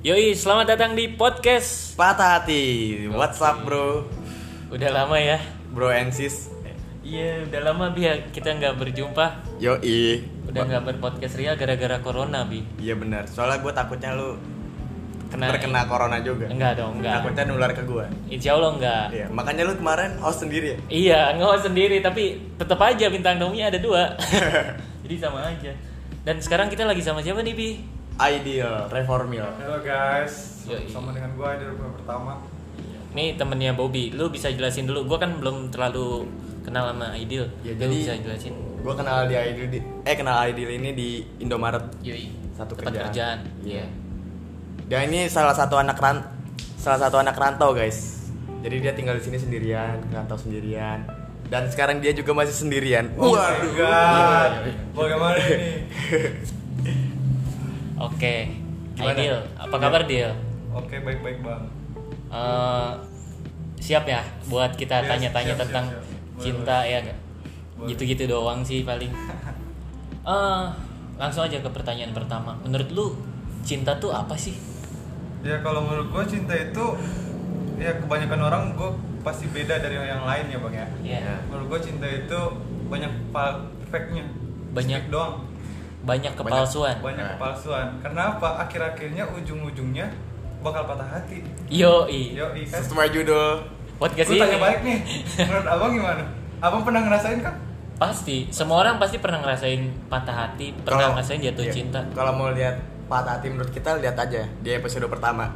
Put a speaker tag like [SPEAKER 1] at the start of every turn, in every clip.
[SPEAKER 1] Yoi, selamat datang di podcast.
[SPEAKER 2] Patah hati. What's up, bro?
[SPEAKER 1] Udah lama ya?
[SPEAKER 2] Bro and sis.
[SPEAKER 1] Iya, udah lama bi ya, kita nggak berjumpa.
[SPEAKER 2] Yoi.
[SPEAKER 1] Udah nggak berpodcast Ria gara-gara corona bi.
[SPEAKER 2] Iya benar. Soalnya gue takutnya lu
[SPEAKER 1] Kena-
[SPEAKER 2] terkena corona juga.
[SPEAKER 1] Enggak dong, enggak.
[SPEAKER 2] Takutnya nular ke gue.
[SPEAKER 1] Insya Allah enggak.
[SPEAKER 2] Iya. Makanya lu kemarin host sendiri ya.
[SPEAKER 1] Iya, ngehost sendiri tapi tetap aja bintang tamunya ada dua. Jadi sama aja. Dan sekarang kita lagi sama siapa nih bi?
[SPEAKER 2] Ideal reformil.
[SPEAKER 3] Halo guys,
[SPEAKER 1] Yoi.
[SPEAKER 3] sama dengan gua di rumah pertama.
[SPEAKER 1] Ini temennya Bobby. Lu bisa jelasin dulu. Gua kan belum terlalu kenal sama Idil.
[SPEAKER 2] Ya,
[SPEAKER 1] Lu
[SPEAKER 2] jadi-
[SPEAKER 1] bisa jelasin.
[SPEAKER 2] Gue kenal di Ideal di eh kenal Ideal ini di Indomaret.
[SPEAKER 1] Yoi.
[SPEAKER 2] Satu
[SPEAKER 1] Iya. Tempat
[SPEAKER 2] kerjaan.
[SPEAKER 1] kerjaan.
[SPEAKER 2] Iya. Dan ini salah satu anak ran salah satu anak rantau, guys. Jadi dia tinggal di sini sendirian, rantau sendirian. Dan sekarang dia juga masih sendirian.
[SPEAKER 3] Oh my
[SPEAKER 1] Iya,
[SPEAKER 3] god, bagaimana ini?
[SPEAKER 1] Oke.
[SPEAKER 2] Gimana?
[SPEAKER 1] Idil, apa kabar Dil?
[SPEAKER 3] Oke, baik-baik bang.
[SPEAKER 1] Eh, siap ya buat kita
[SPEAKER 3] Yes,
[SPEAKER 1] tanya-tanya
[SPEAKER 3] siap,
[SPEAKER 1] tentang
[SPEAKER 3] siap, siap. Boleh,
[SPEAKER 1] cinta ya nggak?
[SPEAKER 3] Boleh.
[SPEAKER 1] Gitu-gitu doang sih paling. Eh, langsung aja ke pertanyaan pertama. Menurut lu cinta tuh apa sih?
[SPEAKER 3] Ya kalau menurut gua cinta itu, ya kebanyakan orang gua pasti beda dari yang lain ya bang ya.
[SPEAKER 1] Iya.
[SPEAKER 3] Menurut gua cinta itu banyak fa- efeknya,
[SPEAKER 1] Banyak-
[SPEAKER 3] Efek doang,
[SPEAKER 1] Banyak kepalsuan.
[SPEAKER 3] banyak
[SPEAKER 2] Nah.
[SPEAKER 3] kepalsuan. Kenapa? Akhir-akhirnya ujung-ujungnya bakal patah hati.
[SPEAKER 1] Yoi.
[SPEAKER 3] Yo, kan?
[SPEAKER 2] Sesuai judul.
[SPEAKER 1] Buat gak Iya.
[SPEAKER 3] Gua
[SPEAKER 1] sih?
[SPEAKER 3] tanya
[SPEAKER 1] ini?
[SPEAKER 3] balik nih, menurut abang gimana? Abang pernah ngerasain kan?
[SPEAKER 1] Pasti. Semua orang pasti pernah ngerasain patah hati, pernah
[SPEAKER 2] Kalau-
[SPEAKER 1] ngerasain jatuh
[SPEAKER 2] iya.
[SPEAKER 1] cinta.
[SPEAKER 2] Kalau mau lihat patah hati menurut kita lihat aja di episode pertama.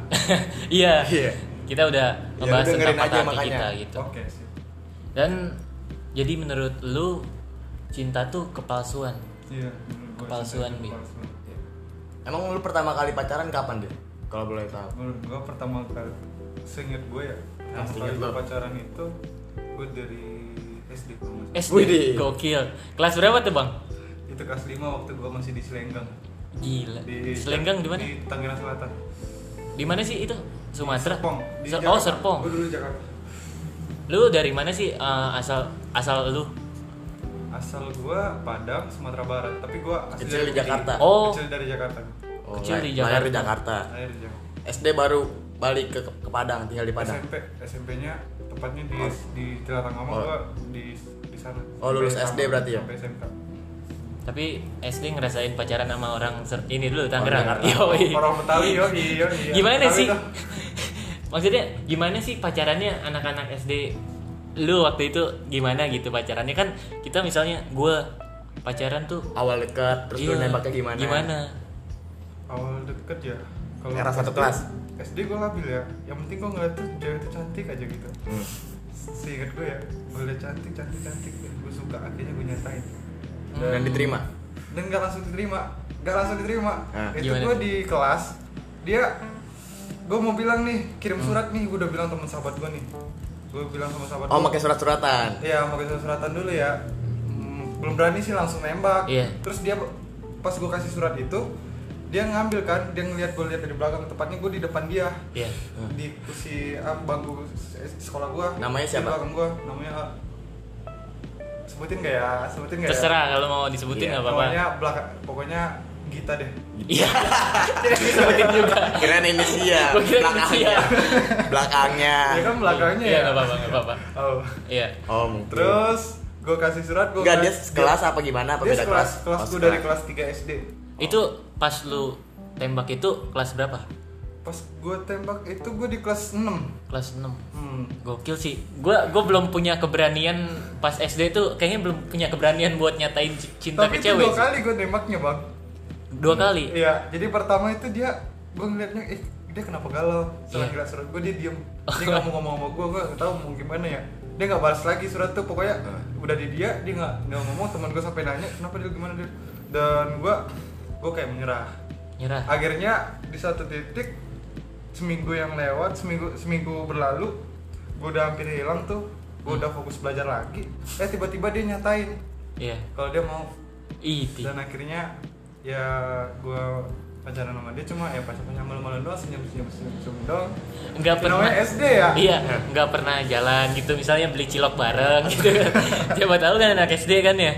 [SPEAKER 1] Iya.
[SPEAKER 2] Iya.
[SPEAKER 1] Kita udah
[SPEAKER 2] Ya,
[SPEAKER 1] ngebahas
[SPEAKER 2] lu dengerin
[SPEAKER 1] tentang patah
[SPEAKER 2] aja
[SPEAKER 1] hati
[SPEAKER 2] makanya.
[SPEAKER 1] kita gitu.
[SPEAKER 3] Oke sih.
[SPEAKER 1] Dan jadi menurut lu cinta tuh kepalsuan.
[SPEAKER 3] Iya, menurut gua gitu,
[SPEAKER 1] Kepalsuan,
[SPEAKER 3] cinta itu
[SPEAKER 1] Bi.
[SPEAKER 3] kepalsuan.
[SPEAKER 2] Emang lu pertama kali pacaran kapan deh? Kalau boleh tahu.
[SPEAKER 3] Menurut gua pertama kali seinget gue ya, pertama
[SPEAKER 2] seinget
[SPEAKER 3] kali gua
[SPEAKER 2] lo.
[SPEAKER 3] pacaran itu gue dari SD kalau nggak salah.
[SPEAKER 1] SD
[SPEAKER 2] Widih.
[SPEAKER 1] gokil. Kelas berapa tuh, Bang?
[SPEAKER 3] Itu kelas 5 waktu gua masih di Selenggang.
[SPEAKER 1] Gila. Selenggang di mana?
[SPEAKER 3] Di Tangerang Selatan.
[SPEAKER 1] Di mana sih itu? Sumatera.
[SPEAKER 3] Serpong. Di
[SPEAKER 1] Ser-
[SPEAKER 3] Jakarta.
[SPEAKER 1] oh, Serpong.
[SPEAKER 3] Gua dulu Jakarta.
[SPEAKER 1] Lu dari mana sih eh, asal asal lu?
[SPEAKER 3] Asal gua Padang, Sumatera Barat, tapi gua asli
[SPEAKER 2] Kecil di
[SPEAKER 3] Kediri.
[SPEAKER 2] Jakarta.
[SPEAKER 1] Oh.
[SPEAKER 3] Kecil dari Jakarta.
[SPEAKER 2] Oh,
[SPEAKER 1] Kecil di
[SPEAKER 2] lahir
[SPEAKER 1] Jakarta.
[SPEAKER 2] di Jakarta.
[SPEAKER 3] Lahir di Jakarta.
[SPEAKER 2] SD baru balik ke, ke Padang, tinggal di Padang.
[SPEAKER 3] SMP SMP-nya tepatnya di di Jelarang Amang
[SPEAKER 2] Oh.
[SPEAKER 3] gua di di sana.
[SPEAKER 2] Oh, lulus
[SPEAKER 3] Sampai
[SPEAKER 2] SD
[SPEAKER 3] sama-
[SPEAKER 2] berarti ya?
[SPEAKER 3] Sampai SMK.
[SPEAKER 1] Tapi SD ngerasain pacaran sama orang Ser- ini dulu
[SPEAKER 2] Orang
[SPEAKER 1] Tangerang.
[SPEAKER 2] Jakarta.
[SPEAKER 1] Yoi.
[SPEAKER 3] Oh, iya, Orang iya, Betawi yo yo. yo.
[SPEAKER 1] Gimana
[SPEAKER 3] Betawi
[SPEAKER 1] sih?
[SPEAKER 3] tuh.
[SPEAKER 1] Maksudnya gimana sih pacarannya anak-anak SD? Lu waktu itu gimana gitu pacarannya kan kita misalnya gua pacaran tuh
[SPEAKER 2] Awal dekat, terus lu
[SPEAKER 1] iya,
[SPEAKER 2] nembaknya gimana?
[SPEAKER 1] Gimana?
[SPEAKER 3] Awal deket ya.
[SPEAKER 2] Era satu
[SPEAKER 3] SD
[SPEAKER 2] kelas.
[SPEAKER 3] SD gue labil ya. Yang penting gue ngeliat tuh cewek itu cantik aja gitu.
[SPEAKER 2] Hmm.
[SPEAKER 3] Seingat gue ya, gue liat cantik cantik cantik. Gue suka akhirnya gue nyatain.
[SPEAKER 2] Dan diterima.
[SPEAKER 3] Dan gak langsung diterima, gak langsung diterima.
[SPEAKER 2] Ah.
[SPEAKER 3] Itu
[SPEAKER 1] Gimana
[SPEAKER 3] gue
[SPEAKER 1] tuh?
[SPEAKER 3] di kelas. Dia, gue mau bilang nih kirim surat nih. Gue udah bilang teman sahabat gue nih. Gue bilang sama sahabat.
[SPEAKER 2] Oh,
[SPEAKER 3] gua.
[SPEAKER 2] pakai surat-suratan.
[SPEAKER 3] Iya, pakai surat-suratan dulu ya. Hmm, belum berani sih langsung nembak.
[SPEAKER 1] Iya.
[SPEAKER 3] Terus dia pas gue kasih surat itu, dia ngambil kan, dia ngeliat gue lihat dari belakang tepatnya gue di depan dia.
[SPEAKER 1] Iya.
[SPEAKER 3] Di kursi ah, bangku se- sekolah gue.
[SPEAKER 2] Namanya siapa?
[SPEAKER 3] Di belakang gue, namanya ah, sebutin gak ya? Sebutin gak ya?
[SPEAKER 1] Terserah kalau mau disebutin
[SPEAKER 2] Iya,
[SPEAKER 1] nggak apa-apa.
[SPEAKER 3] Pokoknya belakang, pokoknya Gita deh.
[SPEAKER 1] Iya. Disebutin juga.
[SPEAKER 2] Kirain inisial.
[SPEAKER 1] Gua kira
[SPEAKER 2] belakangnya.
[SPEAKER 1] inisial.
[SPEAKER 2] belakangnya.
[SPEAKER 3] Dia kan belakangnya
[SPEAKER 1] Iya,
[SPEAKER 3] ya.
[SPEAKER 1] nggak apa-apa, nggak apa-apa.
[SPEAKER 3] Oh.
[SPEAKER 1] Iya.
[SPEAKER 2] Oh, mungkin.
[SPEAKER 3] Terus gue kasih surat gue.
[SPEAKER 2] Enggak dia sekelas apa gimana? Apa
[SPEAKER 3] Dia
[SPEAKER 2] beda
[SPEAKER 3] sekelas,
[SPEAKER 2] kelas?
[SPEAKER 3] kelas
[SPEAKER 2] Oh,
[SPEAKER 3] gue dari
[SPEAKER 2] sekelas.
[SPEAKER 3] kelas 3 SD.
[SPEAKER 1] Itu pas lu tembak itu kelas berapa?
[SPEAKER 3] Pas gue tembak itu gue di kelas 6
[SPEAKER 1] Kelas 6.
[SPEAKER 3] Hmm.
[SPEAKER 1] Gokil sih. Gua gua belum punya keberanian pas SD tuh kayaknya belum punya keberanian buat nyatain c- cinta
[SPEAKER 3] Tapi
[SPEAKER 1] ke
[SPEAKER 3] itu
[SPEAKER 1] cewek.
[SPEAKER 3] dua kali gue nembaknya bang.
[SPEAKER 1] Dua kali.
[SPEAKER 3] Iya. Jadi pertama itu dia gue ngeliatnya, eh dia kenapa galau? Setelah
[SPEAKER 1] Iya.
[SPEAKER 3] ngeliat surat gue dia diem. Dia nggak mau ngomong sama gue, gue nggak tahu mau gimana ya. Dia nggak balas lagi surat tuh pokoknya udah di dia dia nggak nggak ngomong. Teman gue sampai nanya kenapa dia gimana dia. Dan gue gue kayak menyerah.
[SPEAKER 1] Nyerah.
[SPEAKER 3] Akhirnya di satu titik seminggu yang lewat seminggu seminggu berlalu gue udah hampir hilang tuh gue udah fokus belajar lagi eh tiba-tiba dia nyatain
[SPEAKER 1] Iya.
[SPEAKER 3] kalau dia mau
[SPEAKER 1] Iti.
[SPEAKER 3] dan akhirnya ya gue pacaran sama dia cuma ya pacaran sama malu-malu doang senyum senyum senyum senyum doang
[SPEAKER 1] Enggak pernah.
[SPEAKER 3] namanya SD ya
[SPEAKER 1] Iya, nggak pernah jalan gitu misalnya beli cilok bareng gitu kan. Siapa tahu kan anak SD kan ya.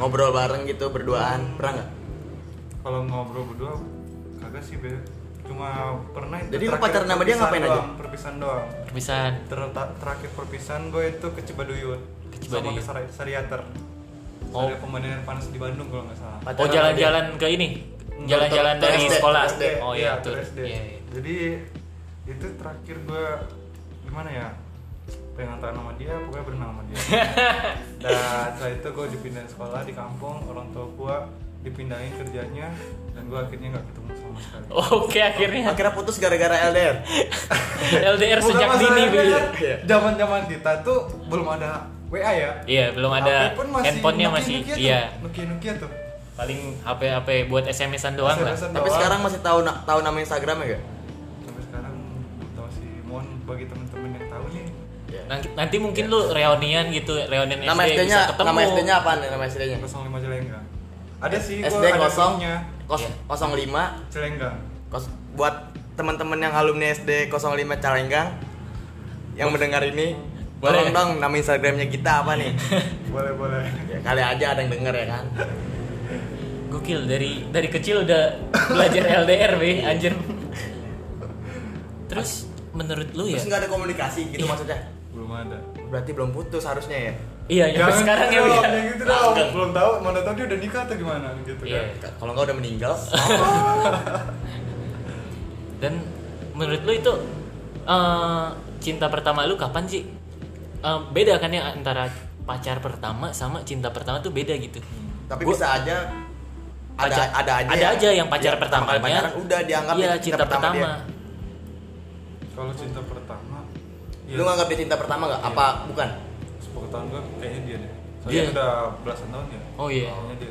[SPEAKER 2] Ngobrol bareng gitu berduaan, pernah enggak?
[SPEAKER 3] kalau ngobrol berdua kagak sih be cuma pernah itu
[SPEAKER 2] Jadi lu
[SPEAKER 3] terakhir
[SPEAKER 2] pacaran sama dia
[SPEAKER 3] perpisahan
[SPEAKER 2] ngapain aja?
[SPEAKER 3] doang, perpisahan doang
[SPEAKER 1] Perpisahan.
[SPEAKER 3] Ter- ta- terakhir perpisahan gue itu ke Cibaduyut
[SPEAKER 1] Ke Cibaduyut.
[SPEAKER 3] sama ke Sari- Sariater
[SPEAKER 1] Oh.
[SPEAKER 3] ada pemandian panas di Bandung kalau nggak salah
[SPEAKER 2] Pacaran
[SPEAKER 1] Oh
[SPEAKER 2] sama
[SPEAKER 1] jalan-jalan ke ini, jalan-jalan
[SPEAKER 2] Tur- tur
[SPEAKER 1] dari
[SPEAKER 2] SD,
[SPEAKER 1] sekolah.
[SPEAKER 2] tur SD.
[SPEAKER 1] Oh
[SPEAKER 3] Iya,
[SPEAKER 1] iya,
[SPEAKER 3] tur
[SPEAKER 1] tur.
[SPEAKER 3] SD.
[SPEAKER 1] Iya, iya.
[SPEAKER 3] Jadi itu terakhir gue gimana ya? Pengen tangan sama dia, pokoknya berenang sama dia. Dan setelah itu gue dipindahin sekolah di kampung, orang tua gue dipindahin kerjanya dan gue akhirnya nggak ketemu sama sekali.
[SPEAKER 1] Oke akhirnya
[SPEAKER 2] Akhirnya putus gara-gara LDR.
[SPEAKER 1] LDR
[SPEAKER 3] Bukan
[SPEAKER 1] sejak dini
[SPEAKER 3] masalahnya
[SPEAKER 1] begitu.
[SPEAKER 3] kan,
[SPEAKER 2] Iya.
[SPEAKER 3] Zaman-zaman kita tuh belum ada WA ya.
[SPEAKER 1] Iya, belum ada
[SPEAKER 3] HP pun masih
[SPEAKER 1] handphonenya masih.
[SPEAKER 3] Nokia-Nokia tuh.
[SPEAKER 1] Iya.
[SPEAKER 3] Nokia-Nokia tuh.
[SPEAKER 1] Paling HP HP buat SMS-an doang lah.
[SPEAKER 3] SMS-an
[SPEAKER 2] Tapi
[SPEAKER 3] doang.
[SPEAKER 2] sekarang masih tahu na- tahu nama ya Instagramnya gak?
[SPEAKER 3] sampai sekarang tau si Mon bagi temen-temen yang tahu nih
[SPEAKER 2] Iya.
[SPEAKER 1] Nanti, nanti mungkin lu reunian gitu, reunian SD
[SPEAKER 2] Nama
[SPEAKER 1] Nah, bisa
[SPEAKER 2] SD-nya
[SPEAKER 1] ketemu.
[SPEAKER 2] nama SD-nya apa nama SD-nya?
[SPEAKER 3] 05 Jelenggang ada sih
[SPEAKER 2] SD
[SPEAKER 3] gua ada
[SPEAKER 2] kosong
[SPEAKER 3] grupnya.
[SPEAKER 2] kos
[SPEAKER 1] Ya.
[SPEAKER 2] 05
[SPEAKER 3] Jelenggang
[SPEAKER 2] kos buat teman-teman yang alumni SD 05 Calenggang yang mendengar ini
[SPEAKER 1] Boleh.
[SPEAKER 2] tolong dong nama Instagramnya kita apa nih?
[SPEAKER 3] boleh boleh
[SPEAKER 2] ya, kali aja ada yang denger ya kan.
[SPEAKER 1] Gokil dari dari kecil udah belajar LDR be anjir. Terus menurut lu ya?
[SPEAKER 2] Terus nggak ada komunikasi gitu
[SPEAKER 1] Iya.
[SPEAKER 2] maksudnya?
[SPEAKER 3] belum ada
[SPEAKER 2] Berarti belum putus harusnya ya?
[SPEAKER 1] Iya, yang sekarang ya.
[SPEAKER 3] gitu
[SPEAKER 1] Bi, ya?
[SPEAKER 3] dong, jangan gitu dong
[SPEAKER 2] Enggak.
[SPEAKER 3] belum tahu mana tahu dia udah nikah atau gimana gitu
[SPEAKER 1] Iya.
[SPEAKER 3] kan
[SPEAKER 2] Kalau nggak udah meninggal.
[SPEAKER 1] Dan menurut lu itu eh, cinta pertama lu kapan sih? Eh, beda kan ya antara pacar pertama sama cinta pertama tuh beda gitu.
[SPEAKER 2] Tapi
[SPEAKER 1] Gua-
[SPEAKER 2] bisa aja ada
[SPEAKER 1] Pacar-
[SPEAKER 2] ada aja
[SPEAKER 1] ada aja yang pacar
[SPEAKER 2] ya,
[SPEAKER 1] pertamanya.
[SPEAKER 2] pacaran udah dianggap
[SPEAKER 1] Iya,
[SPEAKER 2] itu
[SPEAKER 1] cinta pertama.
[SPEAKER 2] dia.
[SPEAKER 3] kalau cinta pertama ya
[SPEAKER 2] Lu nganggap dia cinta pertama nggak? Apa bukan?
[SPEAKER 3] sepengetahuan gua kayaknya dia deh soalnya
[SPEAKER 1] Dia?
[SPEAKER 3] udah belasan tahun ya
[SPEAKER 1] Oh, iya.
[SPEAKER 3] kayaknya dia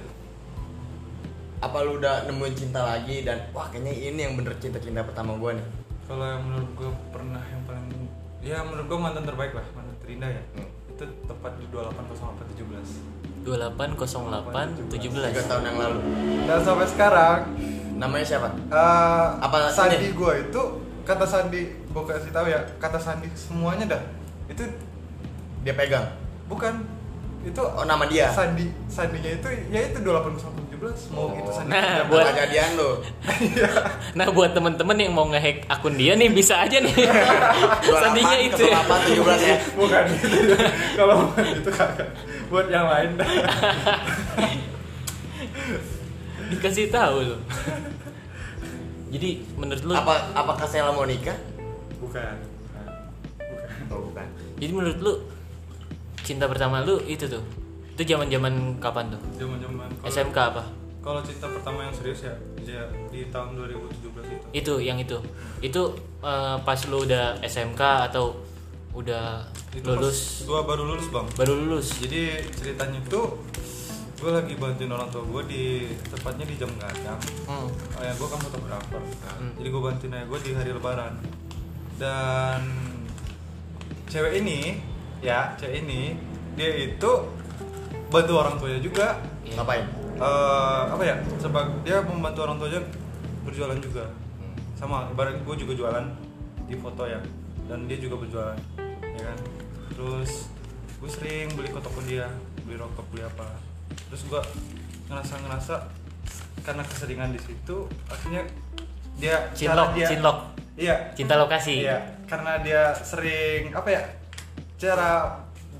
[SPEAKER 2] Apa lu udah nemuin cinta lagi dan wah kayaknya ini yang bener cinta-cinta pertama gua nih.
[SPEAKER 3] kalau yang menurut gua pernah yang paling ya menurut gua mantan terbaik lah mantan terindah ya
[SPEAKER 2] Hmm.
[SPEAKER 3] itu tepat di 280817
[SPEAKER 1] 2808
[SPEAKER 2] Tiga
[SPEAKER 1] 17.
[SPEAKER 2] tahun yang lalu.
[SPEAKER 3] dan sampai sekarang
[SPEAKER 2] Namanya siapa?
[SPEAKER 3] Eh,
[SPEAKER 2] Apa
[SPEAKER 3] Sandi
[SPEAKER 2] ini?
[SPEAKER 3] gue itu kata Sandi gue kasih tahu ya kata Sandi semuanya dah itu
[SPEAKER 2] Dia pegang.
[SPEAKER 3] bukan itu
[SPEAKER 2] Oh, nama dia?
[SPEAKER 3] Sandi Sandinya itu ya itu 2817
[SPEAKER 2] Oh,
[SPEAKER 3] mau
[SPEAKER 2] gitu.
[SPEAKER 3] itu Sandi
[SPEAKER 1] Nah,
[SPEAKER 3] Tidak
[SPEAKER 1] buat-
[SPEAKER 3] ada.
[SPEAKER 2] kejadian lu.
[SPEAKER 1] Nah, buat temen-temen yang mau ngehack akun dia nih bisa aja nih.
[SPEAKER 2] 28,
[SPEAKER 1] Sandinya itu ya.
[SPEAKER 2] 28, 17 ya.
[SPEAKER 3] bukan gitu. kalau bukan itu kagak buat yang lain dah
[SPEAKER 1] Dikasih tahu lu. Jadi menurut lu
[SPEAKER 2] Apa apakah Sheila mau nikah?
[SPEAKER 3] bukan bukan
[SPEAKER 2] Oh, bukan.
[SPEAKER 1] Jadi menurut lu cinta pertama lu itu tuh. Itu zaman-zaman kapan tuh?
[SPEAKER 3] zaman zaman
[SPEAKER 1] SMK apa?
[SPEAKER 3] kalau cinta pertama yang serius ya dia di tahun 2017 itu
[SPEAKER 1] Itu yang itu. Itu eh, pas lu udah SMK atau udah
[SPEAKER 3] itu
[SPEAKER 1] lulus
[SPEAKER 3] gue baru lulus bang
[SPEAKER 1] baru lulus.
[SPEAKER 3] jadi ceritanya itu gue lagi bantuin orang tua gue di tepatnya di jam gadang
[SPEAKER 1] Hmm.
[SPEAKER 3] ayah gue kan fotografer
[SPEAKER 1] Hmm.
[SPEAKER 3] jadi gue bantuin ayah gue di hari lebaran dan cewek ini ya cewek ini dia itu bantu orang tuanya juga
[SPEAKER 1] Iya.
[SPEAKER 2] Ngapain?
[SPEAKER 3] Eh, apa ya sebab dia membantu orang tuanya berjualan juga sama ibarat gue juga jualan di foto ya dan dia juga berjualan ya kan terus gue sering beli ke toko dia beli rokok beli apa terus gue ngerasa ngerasa karena keseringan di situ akhirnya dia
[SPEAKER 1] Cinlok,
[SPEAKER 3] cara dia
[SPEAKER 1] cinlok.
[SPEAKER 3] iya
[SPEAKER 1] Cinta lokasi.
[SPEAKER 3] iya karena dia sering apa ya cara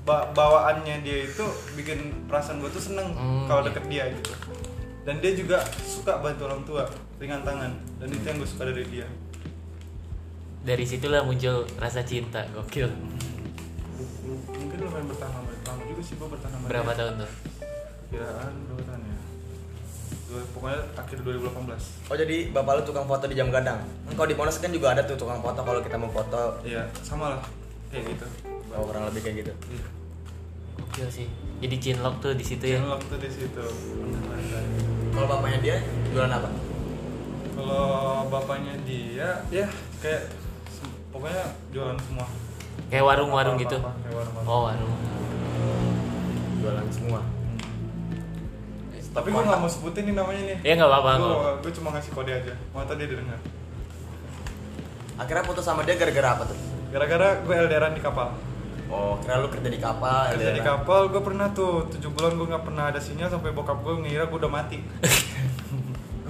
[SPEAKER 3] ba- bawaannya dia itu bikin perasaan gue tuh seneng
[SPEAKER 1] Hmm,
[SPEAKER 3] kalau
[SPEAKER 1] iya.
[SPEAKER 3] deket dia gitu dan dia juga suka bantu orang tua ringan tangan dan itu yang gue suka dari dia
[SPEAKER 1] Dari situlah muncul rasa cinta. Gokil.
[SPEAKER 3] mungkin lumayan bertahan lama lama juga sih gue bertahan lama
[SPEAKER 1] Berapa tahun tuh?
[SPEAKER 3] kiraan berapa tahun ya Dua- pokoknya akhir 2018
[SPEAKER 2] Oh jadi bapak lu tukang foto di jam gadang. Engkau di Monas kan juga ada tuh tukang foto kalau kita mau foto
[SPEAKER 3] iya sama lah kayak gitu
[SPEAKER 2] oh, kurang lebih kayak gitu.
[SPEAKER 3] Iya.
[SPEAKER 1] Gokil sih. Jadi cinlok tuh di situ ya.
[SPEAKER 3] Channel waktu di situ
[SPEAKER 2] Kalau bapaknya dia jualan apa?
[SPEAKER 3] kalau bapaknya dia ya kayak se- pokoknya jualan semua
[SPEAKER 1] Kayak warung-warung
[SPEAKER 3] Apa-apa,
[SPEAKER 1] gitu.
[SPEAKER 3] kayak warung-warung.
[SPEAKER 1] Oh, warung.
[SPEAKER 2] Jualan semua.
[SPEAKER 3] Hmm. tapi gue nggak mau sebutin nih namanya nih
[SPEAKER 1] Ya nggak apa-apa. nggak apa-apa.
[SPEAKER 3] gue gue cuma ngasih kode aja mau tau dia dengar
[SPEAKER 2] Akhirnya putus sama dia gara-gara apa tuh?
[SPEAKER 3] gara-gara gue elderan di kapal
[SPEAKER 2] Oh, kira lu kerja di kapal. gitu kan?
[SPEAKER 3] kerja di kapal gue pernah tuh 7 bulan gue nggak pernah ada sinyal sampai bokap gue ngira gue udah mati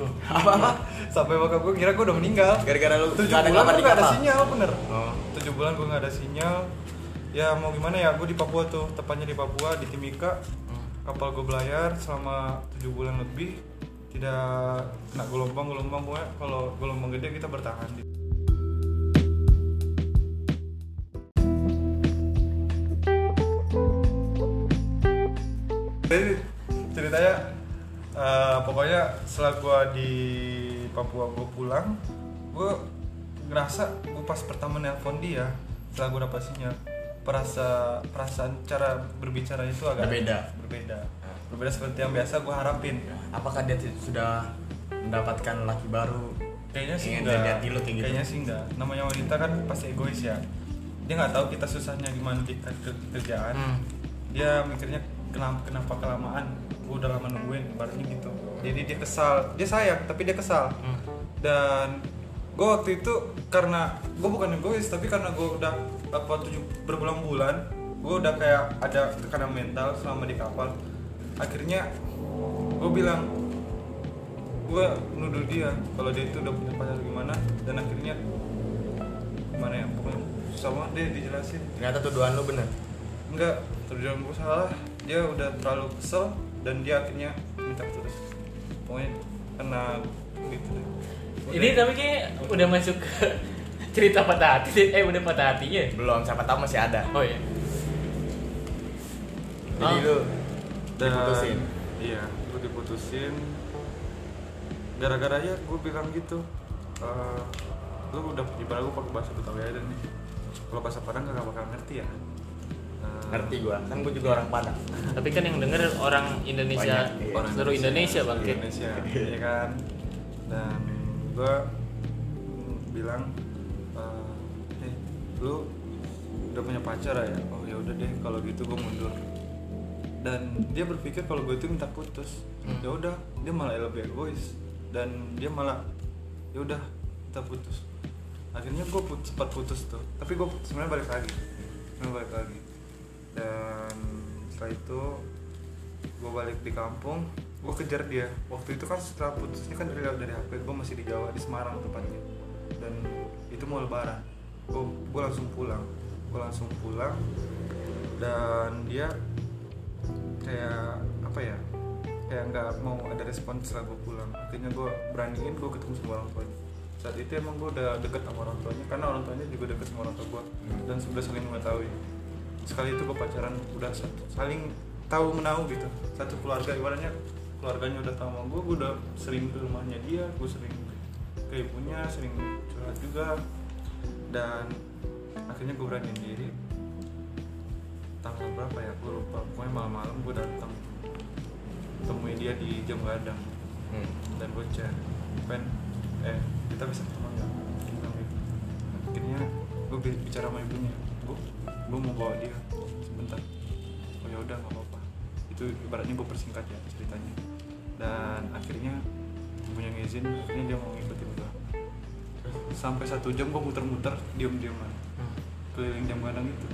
[SPEAKER 3] Tuh. Apa apa? Sampai bokap gue kira gue udah meninggal.
[SPEAKER 2] Gara-gara lu
[SPEAKER 3] Tujuh
[SPEAKER 2] nggak ada
[SPEAKER 3] bulan
[SPEAKER 2] kabar
[SPEAKER 3] gue
[SPEAKER 2] di
[SPEAKER 3] gak ada
[SPEAKER 2] kapal.
[SPEAKER 3] sinyal bener.
[SPEAKER 2] Oh.
[SPEAKER 3] Tujuh bulan gue gak ada sinyal. Ya mau gimana ya? Gue di Papua tuh, tepatnya di Papua di Timika.
[SPEAKER 2] Hmm.
[SPEAKER 3] Kapal gue belayar selama tujuh bulan lebih tidak kena gelombang gelombang pokoknya kalau gelombang gede kita bertahan di Jadi ceritanya eh, pokoknya setelah gua di Papua gua pulang, gua ngerasa gua pas pertama nelpon dia setelah gua dapat sinyal perasa perasaan cara berbicara itu agak
[SPEAKER 2] Berbeda. Iya.
[SPEAKER 3] berbeda berbeda seperti yang biasa gua harapin
[SPEAKER 2] Apakah dia t- sudah mendapatkan laki baru?
[SPEAKER 3] kayaknya sih
[SPEAKER 2] Ingin dilihat
[SPEAKER 3] enggak
[SPEAKER 2] dulu kayak gitu.
[SPEAKER 3] kayaknya sih enggak namanya wanita kan pasti egois ya dia nggak tahu kita susahnya gimana kita ke- kerjaan
[SPEAKER 1] Hmm.
[SPEAKER 3] dia mikirnya kenapa kenapa kelamaan gue udah lama nungguin ibaratnya gitu jadi dia kesal dia sayang tapi dia kesal dan gue waktu itu karena gue bukan egois tapi karena gue udah apa tujuh berbulan-bulan gue udah kayak ada tekanan mental selama di kapal akhirnya gue bilang gue nuduh dia kalau dia itu udah punya pacar gimana dan akhirnya gimana ya pokoknya sama dia dijelasin
[SPEAKER 2] Ternyata tuduhan lu bener.
[SPEAKER 3] enggak tujuan gue salah dia udah terlalu kesel dan dia akhirnya minta terus pokoknya kena gitu deh
[SPEAKER 1] Ini tapi kayaknya udah masuk ke cerita patah hati deh. Eh udah patah hatinya
[SPEAKER 2] Belum, siapa tahu masih ada.
[SPEAKER 1] Oh iya
[SPEAKER 2] Jadi
[SPEAKER 1] Ah.
[SPEAKER 2] lu
[SPEAKER 3] Dan-
[SPEAKER 2] diputusin.
[SPEAKER 3] iya gue diputusin gara-gara ya gue bilang gitu Eh lu udah ibarat gue pakai bahasa betawi aja nih kalau bahasa padang gak bakal ngerti ya Eh,
[SPEAKER 2] Ngerti gua, kan gua juga orang Padang.
[SPEAKER 1] Tapi kan yang denger orang Indonesia
[SPEAKER 2] Banyak, iya.
[SPEAKER 1] kan? Orang seluruh Indonesia bang Kit.
[SPEAKER 3] Indonesia ya kan dan gue bilang eh, hey, lu udah punya pacar ya oh ya udah deh kalau gitu gue mundur dan dia berpikir kalau gue itu minta putus
[SPEAKER 1] Hmm.
[SPEAKER 3] ya udah dia malah lebih egois dan dia malah ya udah kita putus akhirnya gue put, sempat putus tuh tapi gue sebenarnya balik lagi sebenarnya balik lagi dan setelah itu gue balik di kampung gue kejar dia waktu itu kan setelah putusnya kan dari dari HP gue masih di Jawa di Semarang tempatnya dan itu mau lebaran gue gue langsung pulang gue langsung pulang dan dia kayak apa ya kayak nggak mau ada respon setelah gue pulang akhirnya gue beraniin gue ketemu sama orang tuanya saat itu emang gue udah deket sama orang tuanya karena orang tuanya juga deket sama orang tua gue dan sudah saling mengetahui sekali itu gue pacaran udah satu saling tahu menau gitu satu keluarga ibaratnya keluarganya udah tahu sama gue gue udah sering ke rumahnya dia gue sering ke ibunya sering curhat juga dan akhirnya gue beraniin diri tanggal berapa ya gue lupa pokoknya malam-malam gue datang temuin dia di jam gadang
[SPEAKER 2] Hmm.
[SPEAKER 3] dan gue chat pen eh kita bisa ketemu nggak Dia bilang gitu. akhirnya gue bicara sama ibunya gue gue mau bawa dia sebentar oh ya udah nggak apa-apa itu ibaratnya gue persingkat ya ceritanya dan akhirnya ibunya ngizin akhirnya dia mau ngikutin gue sampai satu jam gue muter-muter diem-dieman keliling jam gadang itu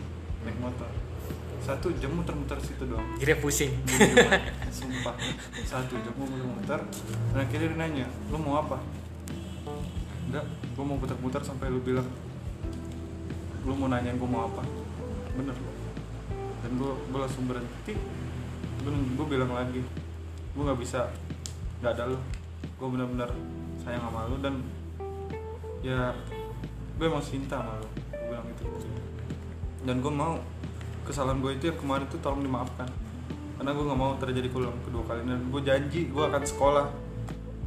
[SPEAKER 3] naik motor satu jam muter-muter situ doang
[SPEAKER 1] Jadi pusing
[SPEAKER 3] sumpah satu jam gue muter-muter dan akhirnya dia nanya lu mau apa enggak gue mau putar-putar sampai lu bilang lu mau nanyain gue mau apa bener dan gue gue langsung berhenti gue bilang lagi gue nggak bisa nggak ada lu gue bener-bener sayang sama lu dan ya gue emang cinta sama lu gue bilang gitu dan gue mau kesalahan gue itu yang kemarin tuh tolong dimaafkan karena gue nggak mau terjadi keulang kedua kali dan gue janji gue akan sekolah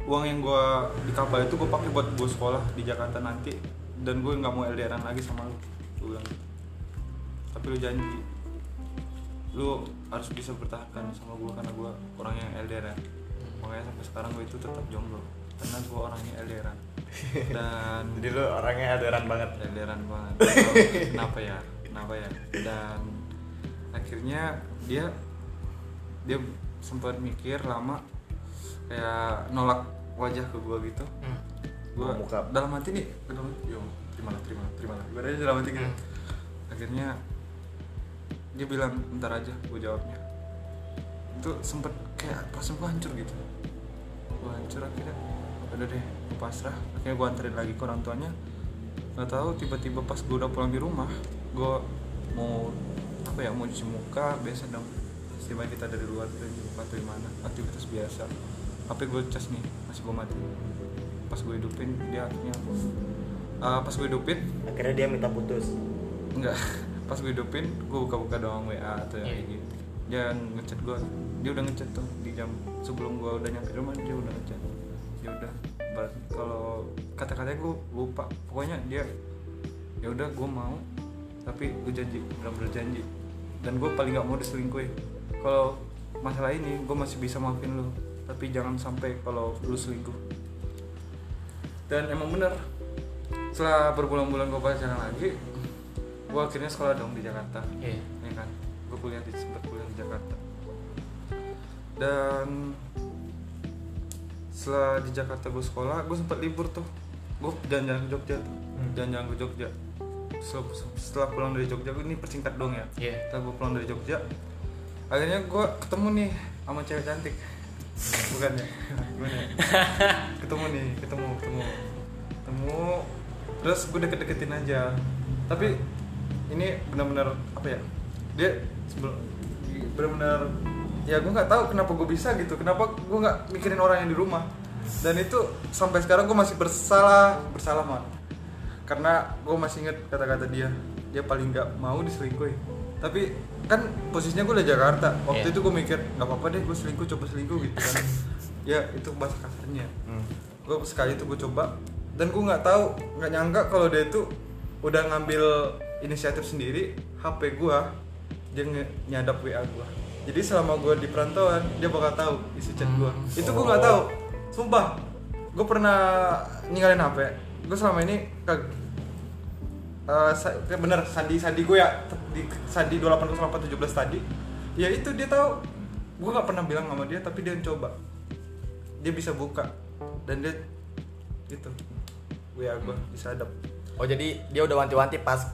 [SPEAKER 3] uang yang gue di kapal itu gue pakai buat gue sekolah di Jakarta nanti dan gue nggak mau LDRan lagi sama lu gue bilang gitu. tapi lu janji lu harus bisa bertahan sama gue karena gue orang yang LDRan makanya sampai sekarang gue itu tetap jomblo karena gue orangnya LDRan dan
[SPEAKER 2] Jadi lu orangnya adoran banget.
[SPEAKER 3] Elderan banget. Oh, Kenapa ya? Kenapa ya? Dan akhirnya dia dia sempat mikir lama kayak nolak wajah ke gua gitu.
[SPEAKER 1] Hmm,
[SPEAKER 3] Gua
[SPEAKER 2] Mau muka.
[SPEAKER 3] dalam hati nih, dalam hati, ya yo, terimalah, terimalah, terimalah. Gua aja dalam hati gitu. Akhirnya dia bilang, "Bentar aja, gua jawabnya." Itu sempet kayak pas gua hancur gitu. Gua hancur akhirnya udah deh gua pasrah akhirnya gue anterin lagi ke orang tuanya nggak tahu tiba-tiba pas gue udah pulang di rumah gue mau apa ya mau cuci muka biasa dong istimewa kita dari luar dari muka atau gimana aktivitas biasa HP gue cas nih masih gue mati pas gue hidupin dia akhirnya Ah, pas gue hidupin
[SPEAKER 2] akhirnya dia minta putus
[SPEAKER 3] Enggak, pas gue hidupin, gue buka-buka doang WA atau yang kayak gitu Dia ngechat gue, dia udah ngechat tuh di jam sebelum gue udah nyampe rumah dia udah ngechat Ya udah, bar- kalau kata-katanya gue lupa, pokoknya dia ya udah gue mau tapi gue janji benar berjanji dan gue paling nggak mau diselingkuhin kalau masalah ini gue masih bisa maafin lo tapi jangan sampai kalau lu selingkuh dan emang bener setelah berbulan-bulan gue pacaran lagi gue akhirnya sekolah dong di Jakarta
[SPEAKER 1] Iya.
[SPEAKER 3] ya kan gue kuliah di sempat kuliah di Jakarta dan setelah di Jakarta gue sekolah gue sempat libur tuh gue jalan-jalan ke Jogja tuh jalan-jalan ke Jogja Setelah- setelah pulang dari Jogja ini persingkat dong ya
[SPEAKER 1] Iya.
[SPEAKER 3] setelah gue pulang dari Jogja akhirnya gue ketemu nih sama cewek cantik bukan ya Bukan ya? ketemu nih ketemu ketemu ketemu terus gue deket-deketin aja tapi ini benar-benar apa ya dia sebelum benar-benar ya gue nggak tahu kenapa gue bisa gitu kenapa gue nggak mikirin orang yang di rumah dan itu sampai sekarang gue masih bersalah bersalah man karena gue masih inget kata-kata dia dia paling nggak mau diselingkuhin tapi kan posisinya gue udah Jakarta waktu
[SPEAKER 1] Iya.
[SPEAKER 3] itu gue mikir nggak apa-apa deh gue selingkuh coba selingkuh gitu kan ya itu bahasa kasarnya gue sekali itu gue coba dan gue nggak tahu nggak nyangka kalau dia itu udah ngambil inisiatif sendiri HP gue dia nge- nyadap WA gue jadi selama gue di perantauan dia bakal tahu isi chat gue itu gue nggak tahu sumpah gue pernah ninggalin HP gue selama ini kag- Eh, sa- bener Sandi Sandi gue ya di Sandi 280817 tadi ya itu dia tahu gue nggak pernah bilang sama dia tapi dia yang coba dia bisa buka dan dia itu gue gue bisa adap
[SPEAKER 2] oh jadi dia udah wanti-wanti pas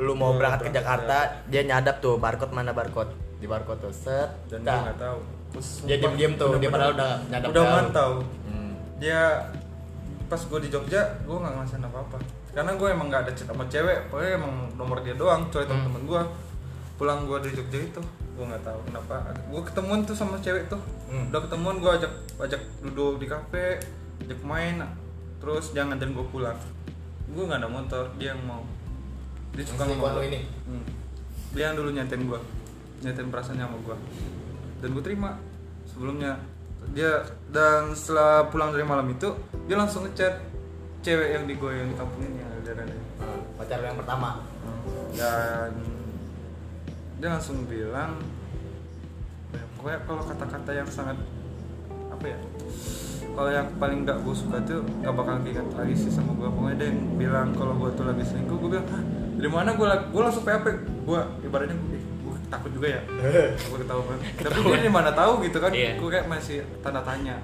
[SPEAKER 2] lu mau
[SPEAKER 3] Iya,
[SPEAKER 2] berangkat ke
[SPEAKER 3] berangkat.
[SPEAKER 2] Jakarta dia nyadap tuh barcode mana barcode di barcode tuh set
[SPEAKER 3] dan dia
[SPEAKER 2] dah.
[SPEAKER 3] nggak tahu
[SPEAKER 2] Nah, Terus dia diem-diem tuh, dia padahal udah nyadap
[SPEAKER 3] udah
[SPEAKER 2] tahu.
[SPEAKER 3] mantau
[SPEAKER 2] Hmm.
[SPEAKER 3] dia pas gue di Jogja gue nggak ngerasain apa apa karena gue emang nggak ada chat sama cewek pokoknya emang nomor dia doang kecuali
[SPEAKER 2] Hmm.
[SPEAKER 3] temen-temen gue pulang gue dari Jogja itu gue nggak tahu kenapa gue ketemuan tuh sama cewek tuh
[SPEAKER 2] Hmm.
[SPEAKER 3] udah ketemuan gue ajak ajak duduk di kafe ajak main terus jangan dan gue pulang gue nggak ada motor dia yang mau dia suka
[SPEAKER 2] Yang selingkuhan
[SPEAKER 3] ngomong
[SPEAKER 2] lo ini?
[SPEAKER 3] Hmm. dia yang dulu nyatain gue nyatain perasaannya sama gue dan gue terima sebelumnya dia dan setelah pulang dari malam itu dia langsung ngechat cewek yang di gue yang di kampung ini yang ada
[SPEAKER 2] Hmm, pacar lu yang pertama
[SPEAKER 3] dan dia langsung bilang "Ya, pokoknya kalau kata-kata yang sangat apa ya kalau yang paling nggak gue suka tuh nggak bakal diingat lagi sih sama gue pokoknya dia yang bilang kalau gue tuh lagi selingkuh gue bilang "Hah, dari mana gue gue langsung PHP gue ibaratnya gue gue takut juga ya gue ketahuan tapi gue dari mana tahu gitu kan
[SPEAKER 1] Iya.
[SPEAKER 3] gue kayak masih tanda tanya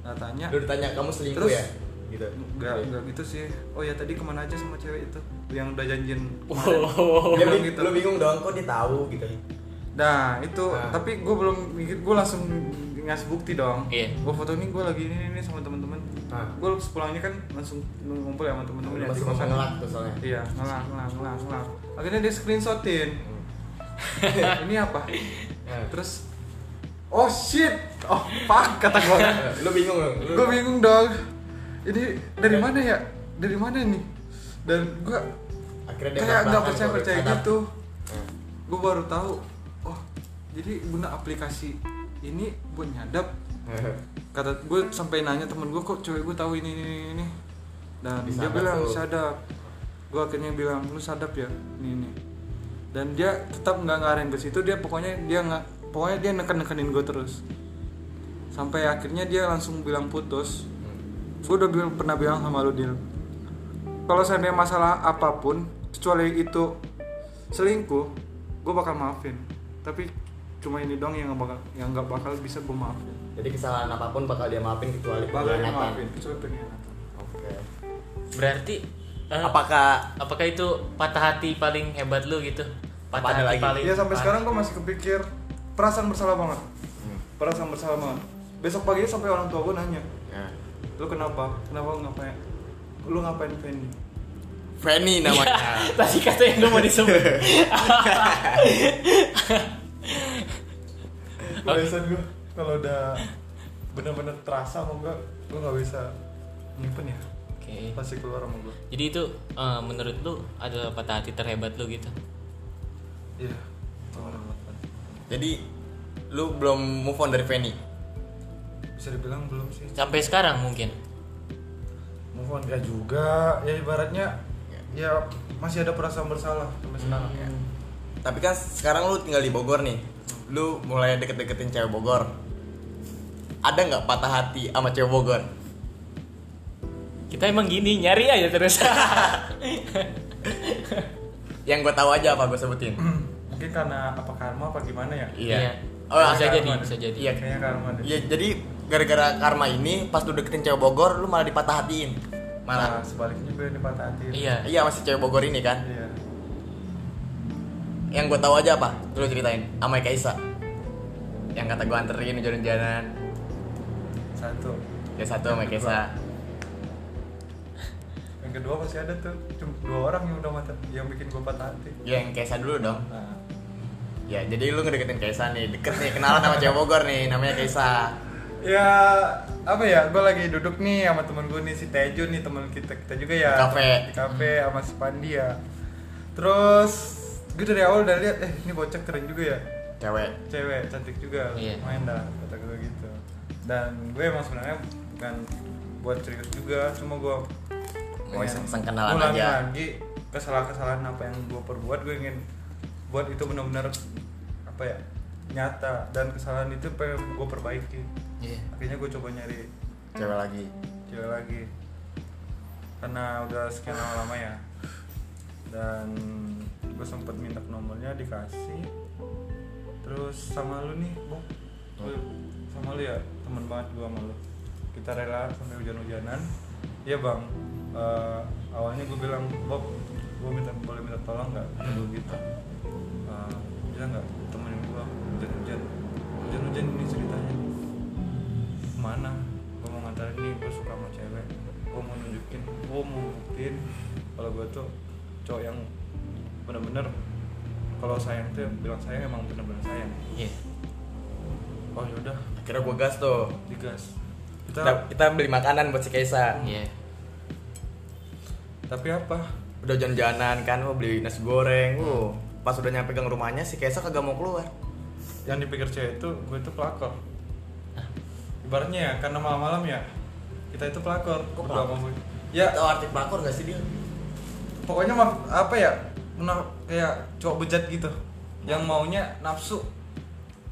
[SPEAKER 3] tanda tanya
[SPEAKER 2] lu ditanya kamu selingkuh
[SPEAKER 3] Ya. Terus?
[SPEAKER 2] ya gitu
[SPEAKER 3] nggak nggak gitu sih oh ya tadi kemana aja sama cewek itu yang udah janjian kemarin.
[SPEAKER 1] Wow.
[SPEAKER 2] Dia
[SPEAKER 3] Bilang
[SPEAKER 2] bing-
[SPEAKER 3] gitu.
[SPEAKER 2] lu bingung dong kok dia tahu gitu
[SPEAKER 3] Nah itu,
[SPEAKER 2] Nah.
[SPEAKER 3] tapi gue belum mikir, gue langsung ngasih bukti dong.
[SPEAKER 1] Iya.
[SPEAKER 3] Gue foto ini gue lagi ini ini sama teman-teman.
[SPEAKER 2] Nah.
[SPEAKER 3] Gue pulangnya kan langsung ngumpul ya sama teman-teman ya.
[SPEAKER 2] masih
[SPEAKER 3] di
[SPEAKER 2] mau
[SPEAKER 3] kosan.
[SPEAKER 2] ngelak tuh soalnya
[SPEAKER 3] Iya, ngelak, ngelak, ngelak, ngelak. Akhirnya dia screenshotin. ini apa?
[SPEAKER 2] Hmm. Nah.
[SPEAKER 3] Terus, oh shit, oh fuck kata gue.
[SPEAKER 2] lu bingung dong lu
[SPEAKER 3] gue bingung dong. Ini dari mana ya? Dari mana nih? Dan gue
[SPEAKER 2] akhirnya dia
[SPEAKER 3] kayak nggak
[SPEAKER 2] berbakat,
[SPEAKER 3] percaya
[SPEAKER 2] baru
[SPEAKER 3] percaya
[SPEAKER 2] sadar.
[SPEAKER 3] gitu
[SPEAKER 2] Hmm.
[SPEAKER 3] gue baru tahu oh jadi guna aplikasi ini buat nyadap kata gue sampai nanya temen gue kok cewek gue tahu ini ini ini, ini dan
[SPEAKER 2] Bisa
[SPEAKER 3] dia
[SPEAKER 2] apa
[SPEAKER 3] bilang
[SPEAKER 2] tuh?
[SPEAKER 3] sadap gue akhirnya bilang lu sadap ya ini ini dan dia tetap nggak ngarahin ke situ dia pokoknya dia nggak pokoknya dia neken nekenin gue terus sampai akhirnya dia langsung bilang putus gue udah bilang, pernah bilang sama lu Dil kalau seandainya masalah apapun kecuali itu selingkuh gue bakal maafin tapi cuma ini dong yang nggak bakal yang nggak bakal bisa gue maafin
[SPEAKER 2] jadi kesalahan apapun bakal dia maafin kecuali
[SPEAKER 3] bakal dia
[SPEAKER 2] pengkhianatan.
[SPEAKER 3] maafin kecuali pengkhianatan
[SPEAKER 2] oke
[SPEAKER 1] Berarti eh,
[SPEAKER 2] apakah
[SPEAKER 1] apakah itu patah hati paling hebat lu gitu?
[SPEAKER 2] Apa ada
[SPEAKER 1] Patah hati
[SPEAKER 2] lagi?
[SPEAKER 1] paling.
[SPEAKER 3] Iya sampai
[SPEAKER 1] parah.
[SPEAKER 3] sekarang gue masih kepikir perasaan bersalah banget perasaan bersalah banget besok paginya sampai orang tua gue nanya
[SPEAKER 2] Nah,
[SPEAKER 3] lu kenapa kenapa lu ngapain lu ngapain Fendi
[SPEAKER 2] Fanny namanya
[SPEAKER 1] Tadi kata yang lu mau disebut.
[SPEAKER 3] biasa gue kalau udah bener-bener terasa mau gue gue nggak bisa nyimpen ya
[SPEAKER 1] Oke.
[SPEAKER 3] pasti keluar sama gue
[SPEAKER 1] Jadi itu eh, menurut lu ada patah hati terhebat lu gitu.
[SPEAKER 3] iya orang banget
[SPEAKER 2] jadi lu belum move on dari Fanny
[SPEAKER 3] bisa dibilang belum sih
[SPEAKER 1] Sampai sekarang mungkin.
[SPEAKER 3] move on gak juga ya ibaratnya ya masih ada perasaan bersalah sampai
[SPEAKER 1] Hmm,
[SPEAKER 3] sekarang
[SPEAKER 1] iya.
[SPEAKER 3] ya.
[SPEAKER 2] tapi kan sekarang lu tinggal di Bogor nih lu mulai deket-deketin cewek Bogor ada nggak patah hati sama cewek Bogor
[SPEAKER 1] Kita emang gini nyari aja terus.
[SPEAKER 2] yang gue tahu aja apa gue sebutin
[SPEAKER 3] mungkin karena apa karma apa gimana ya
[SPEAKER 2] iya
[SPEAKER 1] Oh,
[SPEAKER 2] oh
[SPEAKER 1] bisa
[SPEAKER 2] ada-
[SPEAKER 1] jadi, bisa jadi.
[SPEAKER 2] Iya.
[SPEAKER 3] kayaknya karma deh
[SPEAKER 2] Iya, jadi gara-gara karma ini pas lu deketin cewek Bogor lu malah dipatah hatiin
[SPEAKER 3] Nah,
[SPEAKER 2] malah
[SPEAKER 3] sebaliknya gue yang dipatah hati
[SPEAKER 1] Iya.
[SPEAKER 2] iya masih cewek Bogor ini kan
[SPEAKER 3] iya
[SPEAKER 2] yang gue tahu aja apa lu ceritain sama Kaisa yang kata gue anterin jalan-jalan
[SPEAKER 3] satu
[SPEAKER 2] ya satu sama Kaisa
[SPEAKER 3] yang kedua masih ada tuh cuma dua orang yang udah mata yang bikin gue patah hati
[SPEAKER 2] ya yang Kaisa dulu dong
[SPEAKER 3] nah,
[SPEAKER 2] ya jadi lu ngedeketin Kaisa nih deket nih kenalan sama cewek Bogor nih namanya Kaisa
[SPEAKER 3] ya apa ya gue lagi duduk nih sama temen gue nih si Tejo nih temen kita kita juga ya
[SPEAKER 2] Di kafe.
[SPEAKER 3] di kafe sama si Pandi ya terus gue dari awal udah lihat eh ini bocah keren juga ya
[SPEAKER 2] cewek
[SPEAKER 3] cewek cantik juga
[SPEAKER 1] Iya.
[SPEAKER 3] main dah kata gue gitu dan gue emang sebenarnya bukan buat serius juga cuma gue
[SPEAKER 2] Mau
[SPEAKER 3] pengen
[SPEAKER 2] iseng-iseng kenalan
[SPEAKER 3] ngulangi
[SPEAKER 2] aja.
[SPEAKER 3] lagi kesalahan-kesalahan apa yang gue perbuat gue ingin buat itu benar-benar apa ya nyata dan kesalahan itu pengen gue perbaiki
[SPEAKER 1] Iya.
[SPEAKER 3] akhirnya gue coba nyari
[SPEAKER 2] cewek lagi
[SPEAKER 3] cewek lagi karena udah sekian lama lama ya dan gue sempet minta nomornya dikasih terus sama lu nih Bob Lu- sama lu ya teman banget gue sama lu kita rela sampai hujan-hujanan iya bang Eh, awalnya gue bilang Bob gue minta boleh minta tolong nggak gue gitu Eh, bisa nggak temenin gue hujan-hujan hujan-hujan ini ceritanya kemana gue mau ngantarin nih gue suka sama cewek gue mau nunjukin gue mau buktiin kalau gue tuh cowok yang bener-bener kalau sayang tuh bilang sayang emang bener-bener sayang
[SPEAKER 1] Iya.
[SPEAKER 3] oh yaudah
[SPEAKER 2] akhirnya gue gas tuh
[SPEAKER 3] digas kita
[SPEAKER 2] kita, kita beli makanan buat si Kaisa
[SPEAKER 1] Iya.
[SPEAKER 3] tapi apa
[SPEAKER 2] udah jalan-jalanan kan mau beli nasi goreng uh pas udah nyampe gang rumahnya si Kaisa kagak mau keluar
[SPEAKER 3] yang dipikir cewek itu gue itu pelakor ibaratnya ya karena malam-malam ya kita itu pelakor
[SPEAKER 2] Kok
[SPEAKER 3] berdua
[SPEAKER 2] pelakor?
[SPEAKER 3] sama gue. ya
[SPEAKER 2] tau arti pelakor gak sih dia
[SPEAKER 3] pokoknya mah apa ya menaf- kayak cowok bejat gitu yang maunya nafsu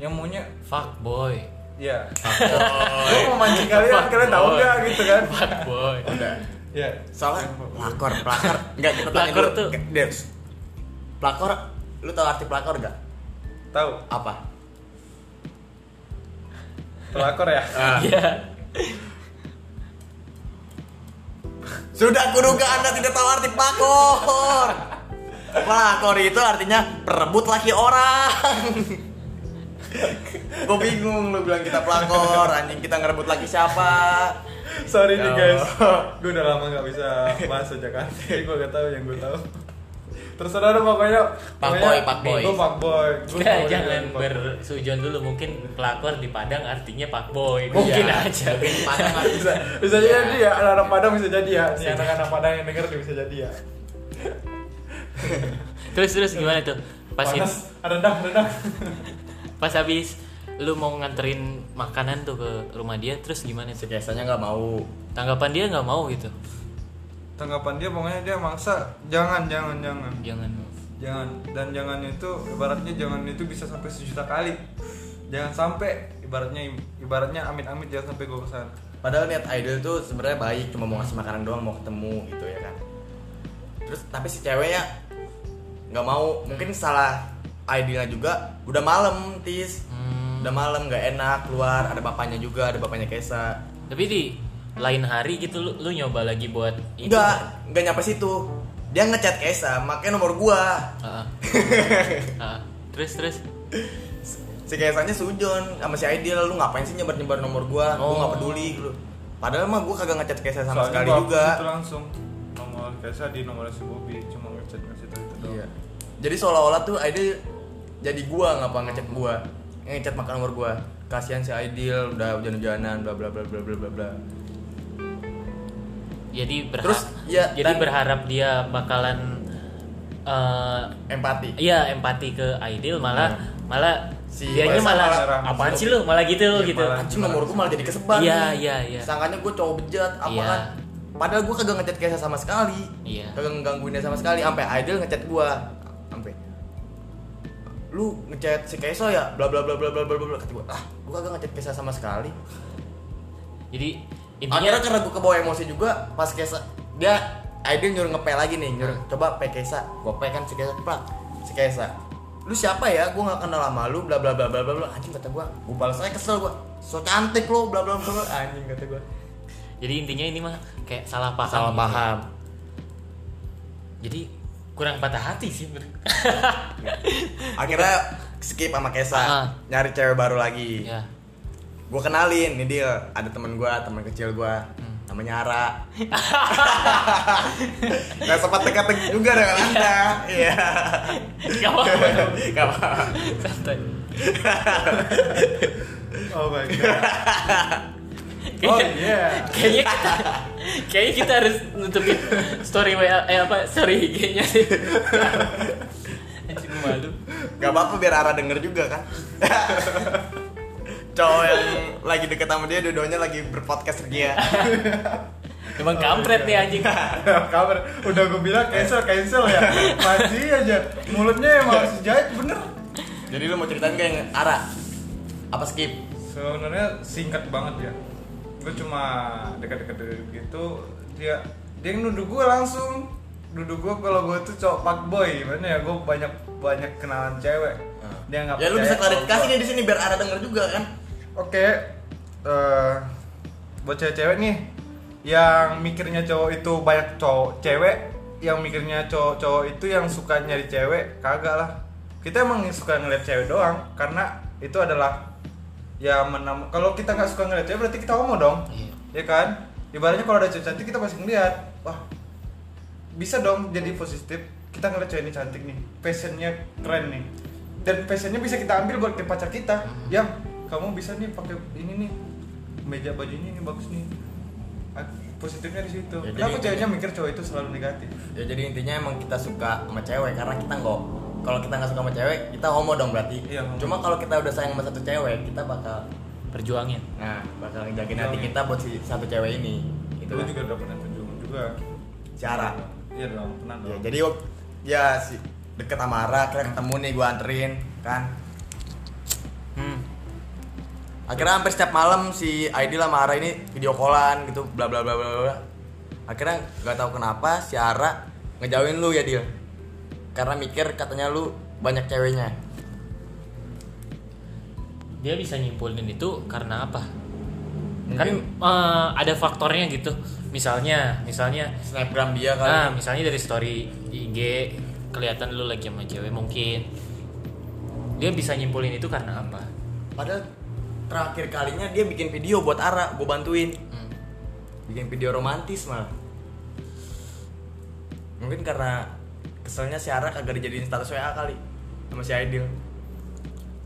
[SPEAKER 3] yang maunya
[SPEAKER 1] Fuck boy.
[SPEAKER 3] ya
[SPEAKER 2] Fuckboy.
[SPEAKER 3] gue mau mancing kalian kalian tahu
[SPEAKER 1] Fuckboy.
[SPEAKER 3] nggak gitu kan
[SPEAKER 1] Fuck boy.
[SPEAKER 2] udah
[SPEAKER 3] ya
[SPEAKER 2] soalnya pelakor pelakor nggak kita tanya
[SPEAKER 1] Pelakor
[SPEAKER 2] dulu.
[SPEAKER 1] tuh.
[SPEAKER 2] Nggak, Des. pelakor lu tau arti pelakor gak
[SPEAKER 3] tahu
[SPEAKER 2] apa
[SPEAKER 3] pelakor ya
[SPEAKER 2] Ah.
[SPEAKER 1] Iya.
[SPEAKER 2] sudah kuduga anda tidak tahu arti pelakor pelakor itu artinya perebut laki orang gue bingung lu bilang kita pelakor anjing kita ngerebut laki siapa
[SPEAKER 3] sorry nih
[SPEAKER 2] Ya
[SPEAKER 3] guys gue udah lama nggak bisa bahasa Jakarta jadi gue gak tahu yang gue tahu terserah deh pokoknya
[SPEAKER 2] Fuckboy, fuckboy.
[SPEAKER 3] gue pak boy
[SPEAKER 1] Kita jangan bersujon dulu mungkin pelakor di Padang artinya pak boy. Mungkin
[SPEAKER 2] Iya,
[SPEAKER 1] aja.
[SPEAKER 2] mungkin Padang lah.
[SPEAKER 3] bisa bisa
[SPEAKER 2] Iya.
[SPEAKER 3] jadi ya anak-anak Padang bisa jadi ya Nih, anak-anak Padang yang denger juga bisa jadi ya
[SPEAKER 1] Terus terus gimana tuh? Pas itu-
[SPEAKER 3] panas rendang rendang
[SPEAKER 1] pas habis lu mau nganterin makanan tuh ke rumah dia terus gimana
[SPEAKER 2] si
[SPEAKER 1] tuh?
[SPEAKER 2] biasanya nggak mau
[SPEAKER 1] Tanggapan dia nggak mau gitu.
[SPEAKER 3] tanggapan dia pokoknya dia maksa jangan jangan jangan
[SPEAKER 1] Jangan.
[SPEAKER 3] jangan dan jangan itu ibaratnya jangan itu bisa sampai sejuta kali jangan sampai ibaratnya ibaratnya amit amit jangan sampai gue kesan
[SPEAKER 2] Padahal niat idol tuh sebenarnya baik, cuma mau ngasih makanan doang, mau ketemu gitu ya kan. Terus tapi si ceweknya nggak mau, mungkin salah idolnya juga. Udah malam, tis.
[SPEAKER 1] Hmm.
[SPEAKER 2] Udah malam, nggak enak keluar. Ada bapaknya juga, ada bapaknya Kesa.
[SPEAKER 1] Tapi di lain hari gitu lu, lu nyoba lagi buat
[SPEAKER 3] Iya.
[SPEAKER 1] itu.
[SPEAKER 2] Enggak, nggak nyampe situ. Dia ngechat Kesa, makanya nomor gua.
[SPEAKER 1] Ah, ah. Ah, terus terus.
[SPEAKER 2] Si Kesanya sujon sama si Idol, lu ngapain sih nyebar-nyebar nomor gua? Gua
[SPEAKER 1] Oh.
[SPEAKER 2] nggak peduli lu. Padahal mah gue kagak ngechat Kesa sama
[SPEAKER 3] Soalnya
[SPEAKER 2] sekali
[SPEAKER 3] gua
[SPEAKER 2] juga.
[SPEAKER 3] Itu langsung nomor Kesa di nomor si Bobby cuma ngechat ngechat itu doang.
[SPEAKER 2] Iya. Jadi seolah-olah tuh Aidil jadi gua ngapa ngechat gua. Yang ngechat makan nomor gua. Kasihan si Aidil udah hujan-hujanan bla bla bla bla bla bla bla.
[SPEAKER 1] jadi berharap
[SPEAKER 2] Terus, ya,
[SPEAKER 1] jadi
[SPEAKER 2] dan-
[SPEAKER 1] berharap dia bakalan eh,
[SPEAKER 2] Empati.
[SPEAKER 1] iya empati ke Aidil malah malah
[SPEAKER 2] Si
[SPEAKER 1] dianya
[SPEAKER 2] Faisal
[SPEAKER 1] malah
[SPEAKER 3] malah
[SPEAKER 1] apaan
[SPEAKER 3] ramah.
[SPEAKER 1] sih lu malah gitu
[SPEAKER 3] Iya,
[SPEAKER 1] gitu
[SPEAKER 3] malah.
[SPEAKER 2] Anjing Kan nomor gua malah jadi kesebar.
[SPEAKER 1] Iya,
[SPEAKER 2] nih.
[SPEAKER 1] iya, iya.
[SPEAKER 2] Sangkanya gua cowok bejat apa
[SPEAKER 1] Iya.
[SPEAKER 2] kan. Padahal gua kagak ngechat Kesa sama sekali.
[SPEAKER 1] Iya.
[SPEAKER 2] Kagak ngegangguinnya sama sekali sampai Aidil ngechat gua. Sampai lu ngechat si Kesa ya bla bla bla bla bla bla bla kata gua ah gua kagak ngechat Kesa sama sekali
[SPEAKER 1] jadi
[SPEAKER 2] Akhirnya
[SPEAKER 1] intinya
[SPEAKER 2] karena gue kebawa emosi juga pas Kesa dia Aidil nyuruh ngepel lagi nih nyuruh coba pe Kesa gue pe kan si Kesa plak si Kesa lu siapa ya gue gak kenal sama lu bla bla bla bla bla bla anjing kata gue gue balas aja kesel gue so cantik lo bla bla bla bla. anjing kata gue
[SPEAKER 1] jadi intinya ini mah kayak salah paham
[SPEAKER 2] salah
[SPEAKER 1] gitu.
[SPEAKER 2] paham
[SPEAKER 1] jadi kurang patah hati sih bener.
[SPEAKER 2] akhirnya skip sama Kesa
[SPEAKER 1] Ah.
[SPEAKER 2] nyari cewek baru lagi
[SPEAKER 1] ya
[SPEAKER 2] gue kenalin nih dia ada teman gue teman kecil gue namanya Ara nggak sempat dekat juga dengan anda iya
[SPEAKER 1] Gak apa-apa
[SPEAKER 2] nggak apa
[SPEAKER 1] Ya. santai
[SPEAKER 3] Oh my god. oh
[SPEAKER 1] Kayaknya-
[SPEAKER 3] yeah.
[SPEAKER 1] kayaknya kita kayaknya kita harus nutupin story WA eh apa story IG-nya sih anjing malu
[SPEAKER 2] Gak apa-apa biar Ara denger juga kan Cowok yang lagi deket sama dia dua-duanya lagi berpodcast dia
[SPEAKER 1] emang kampret nih anjing
[SPEAKER 3] Kabar udah gue bilang cancel cancel ya. Masih aja mulutnya emang harus jahit bener.
[SPEAKER 2] Jadi lu mau ceritain kayak yang Ara? Apa skip?
[SPEAKER 3] Sebenarnya singkat banget ya. Gue cuma dekat-dekat gitu dia dia yang nuduh gue langsung nuduh gue kalau gue tuh cowok fuckboy gimana ya gue banyak banyak kenalan cewek dia nggak
[SPEAKER 2] Ya lu
[SPEAKER 3] percaya
[SPEAKER 2] bisa
[SPEAKER 3] kalau
[SPEAKER 2] klarifikasi
[SPEAKER 3] gua-
[SPEAKER 2] nih di sini biar Ara denger juga kan
[SPEAKER 3] Oke, eh, buat cewek-cewek nih yang mikirnya cowok itu banyak cowok cewek, yang mikirnya cowok-cowok itu yang suka nyari cewek, kagak lah. Kita emang suka ngeliat cewek doang karena itu adalah ya menam. Kalau kita nggak suka ngeliat cewek berarti kita homo dong,
[SPEAKER 1] Iya.
[SPEAKER 3] ya kan? Ibaratnya kalau ada cewek cantik kita pasti ngeliat, wah bisa dong jadi positif kita ngeliat cewek ini cantik nih passionnya keren nih dan passionnya bisa kita ambil buat ke pacar kita
[SPEAKER 2] Hmm.
[SPEAKER 3] yang kamu bisa nih pakai ini nih meja bajunya ini bagus nih A- positifnya di situ
[SPEAKER 2] Ya, jadi
[SPEAKER 3] kenapa
[SPEAKER 2] intinya-
[SPEAKER 3] ceweknya mikir cowok itu selalu negatif
[SPEAKER 2] Ya jadi intinya emang kita suka sama cewek karena kita nggak kalau kita nggak suka sama cewek kita homo dong berarti.
[SPEAKER 3] Iya, homo.
[SPEAKER 2] Cuma kalau kita udah sayang sama satu cewek kita bakal
[SPEAKER 1] perjuangin
[SPEAKER 2] nah bakal ngejakin hati kita buat si satu cewek ini. Gitu kan.
[SPEAKER 3] itu
[SPEAKER 2] Itu
[SPEAKER 3] juga udah pernah terjun juga
[SPEAKER 2] si Ara.
[SPEAKER 3] iya dong pernah dong
[SPEAKER 2] Ya jadi wak- ya si deket sama Ara, akhirnya ketemu nih gua anterin kan.
[SPEAKER 1] hmm.
[SPEAKER 2] Akhirnya hampir setiap malam si Aidil sama Ara ini video callan gitu bla bla bla bla bla. Akhirnya nggak tahu kenapa si Ara ngejauhin lu ya Dil. Karena mikir katanya lu banyak ceweknya.
[SPEAKER 1] dia bisa nyimpulin itu karena apa kan
[SPEAKER 2] Mungkin
[SPEAKER 1] eh, ada faktornya gitu misalnya misalnya
[SPEAKER 2] snapgram dia kali.
[SPEAKER 1] Nah, misalnya dari story di IG kelihatan lu lagi sama cewek mungkin dia bisa nyimpulin itu karena apa?
[SPEAKER 2] Padahal terakhir kalinya dia bikin video buat Ara, gue bantuin.
[SPEAKER 1] Hmm.
[SPEAKER 2] Bikin video romantis malah. Mungkin karena keselnya si Ara kagak dijadiin status WA kali sama si Aidil.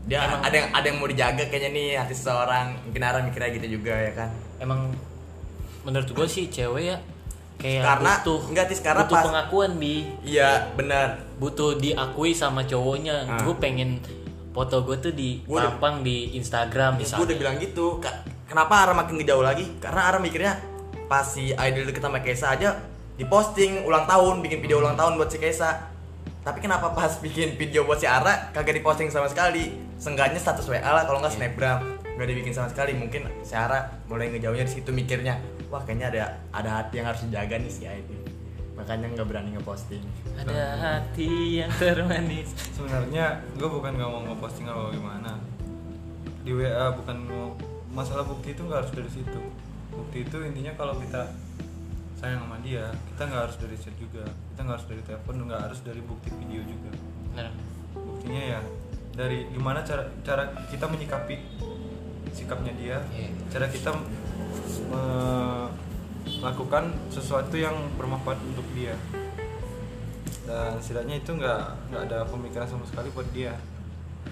[SPEAKER 2] Dia
[SPEAKER 1] Emang-
[SPEAKER 2] ada yang ada yang mau dijaga kayaknya nih hati seseorang. Mungkin Ara mikirnya gitu juga ya kan.
[SPEAKER 1] Emang menurut gue sih cewek ya kayak
[SPEAKER 2] Karena-
[SPEAKER 1] butuh
[SPEAKER 2] enggak sih, sekarang
[SPEAKER 1] butuh
[SPEAKER 2] pas-
[SPEAKER 1] pengakuan bi
[SPEAKER 2] Iya, benar.
[SPEAKER 1] butuh diakui sama cowoknya.
[SPEAKER 2] Ah.
[SPEAKER 1] Gue pengen foto gue tuh
[SPEAKER 2] Gua udah-
[SPEAKER 1] ditampang di Instagram
[SPEAKER 2] Gue udah
[SPEAKER 1] misalnya.
[SPEAKER 2] bilang gitu. Ka- Kenapa Ara makin ngejauh lagi? Karena Ara mikirnya pas si Idol deket sama Kesa aja diposting ulang tahun, bikin video ulang tahun buat si Kesa. Tapi kenapa pas bikin video buat si Ara kagak diposting sama sekali? Seenggaknya status WA lah kalau nggak snapgram nggak dibikin sama sekali. Mungkin si Ara mulai ngejauhnya di situ mikirnya, wah kayaknya ada ada hati yang harus dijaga nih si Idol. Makanya nggak berani ngeposting.
[SPEAKER 1] Ada hati yang termanis.
[SPEAKER 3] sebenarnya gue bukan nggak mau ngeposting atau gimana di WA bukan mau masalah bukti itu nggak harus dari situ bukti itu intinya kalau kita sayang sama dia kita nggak harus dari chat juga kita nggak harus dari telepon nggak harus dari bukti video juga
[SPEAKER 1] Bener.
[SPEAKER 3] buktinya ya dari gimana cara cara kita menyikapi sikapnya dia
[SPEAKER 1] Iya.
[SPEAKER 3] cara kita melakukan sesuatu yang bermanfaat untuk dia dan setidaknya itu nggak nggak ada pemikiran sama sekali buat dia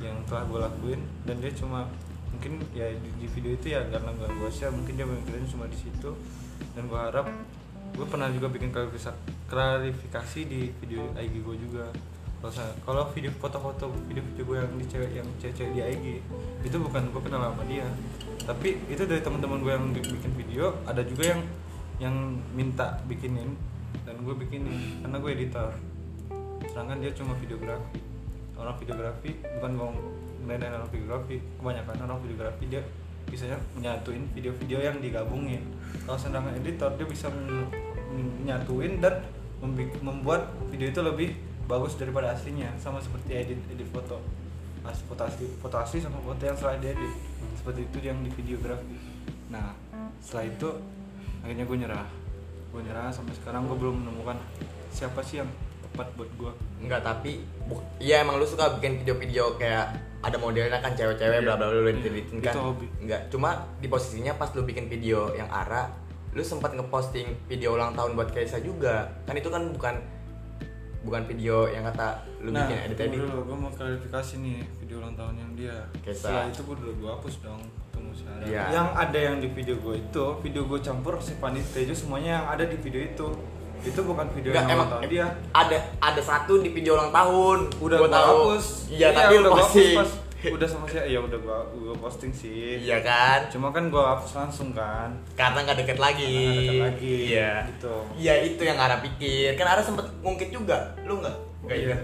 [SPEAKER 3] yang telah gue lakuin dan dia cuma mungkin ya di, di video itu ya karena nggak gue share mungkin dia pemikirannya cuma di situ dan gue harap gue pernah juga bikin klarifikasi, klarifikasi di video IG gue juga Kalau saya- kalau video foto-foto video-video gue yang di cewek yang cewek di IG itu bukan gue kenal sama dia tapi itu dari teman-teman gue yang bi- bikin video ada juga yang yang minta bikinin dan gue bikinin karena gue editor sedangkan dia cuma videografi orang videografi bukan ngomong mengenai orang videografi kebanyakan orang videografi dia bisanya menyatuin video-video yang digabungin kalau sedangkan editor dia bisa men- menyatuin dan membi- membuat video itu lebih bagus daripada aslinya sama seperti edit edit foto As- foto asli foto asli sama foto yang setelah diedit seperti itu yang di videografi nah setelah itu akhirnya gue nyerah gue nyerah sampai sekarang gue belum menemukan siapa sih yang tepat buat gue
[SPEAKER 2] Enggak, tapi bu- ya emang lu suka bikin video-video kayak ada modelnya kan cewek-cewek bla bla bla lu
[SPEAKER 3] Iya,
[SPEAKER 2] editin
[SPEAKER 3] itu
[SPEAKER 2] kan.
[SPEAKER 3] hobi.
[SPEAKER 2] Enggak, cuma di posisinya pas lu bikin video yang Ara, lu sempat ngeposting video ulang tahun buat Kaisa juga. Kan itu kan bukan bukan video yang kata lu bikin edit edit.
[SPEAKER 3] Nah, tunggu dulu, gue mau klarifikasi nih video ulang tahun yang dia.
[SPEAKER 2] Oke,
[SPEAKER 3] Setelah
[SPEAKER 2] Sa.
[SPEAKER 3] itu gue dulu gue hapus dong ketemu Sarah.
[SPEAKER 2] Iya.
[SPEAKER 3] Yang ada yang di video gue itu, video gue campur si Panit Tejo semuanya yang ada di video itu. Itu bukan video
[SPEAKER 2] Enggak,
[SPEAKER 3] yang
[SPEAKER 2] emang
[SPEAKER 3] ulang tahun dia.
[SPEAKER 2] ada ada satu di video ulang tahun.
[SPEAKER 3] Udah
[SPEAKER 2] gua
[SPEAKER 3] gue
[SPEAKER 2] tahu.
[SPEAKER 3] hapus.
[SPEAKER 2] Iya, tapi lu
[SPEAKER 3] udah gua hapus
[SPEAKER 2] posting.
[SPEAKER 3] pas- udah sama siapa? Iya, udah gue gue posting sih.
[SPEAKER 2] Iya kan?
[SPEAKER 3] Cuma kan gue hapus langsung kan.
[SPEAKER 2] Karena nggak deket lagi.
[SPEAKER 3] Karena nggak deket lagi,
[SPEAKER 2] Iya.
[SPEAKER 3] gitu.
[SPEAKER 2] Iya, itu yang Ara pikir. Kan Ara sempet ngungkit juga. Lu enggak? Enggak
[SPEAKER 3] Iya.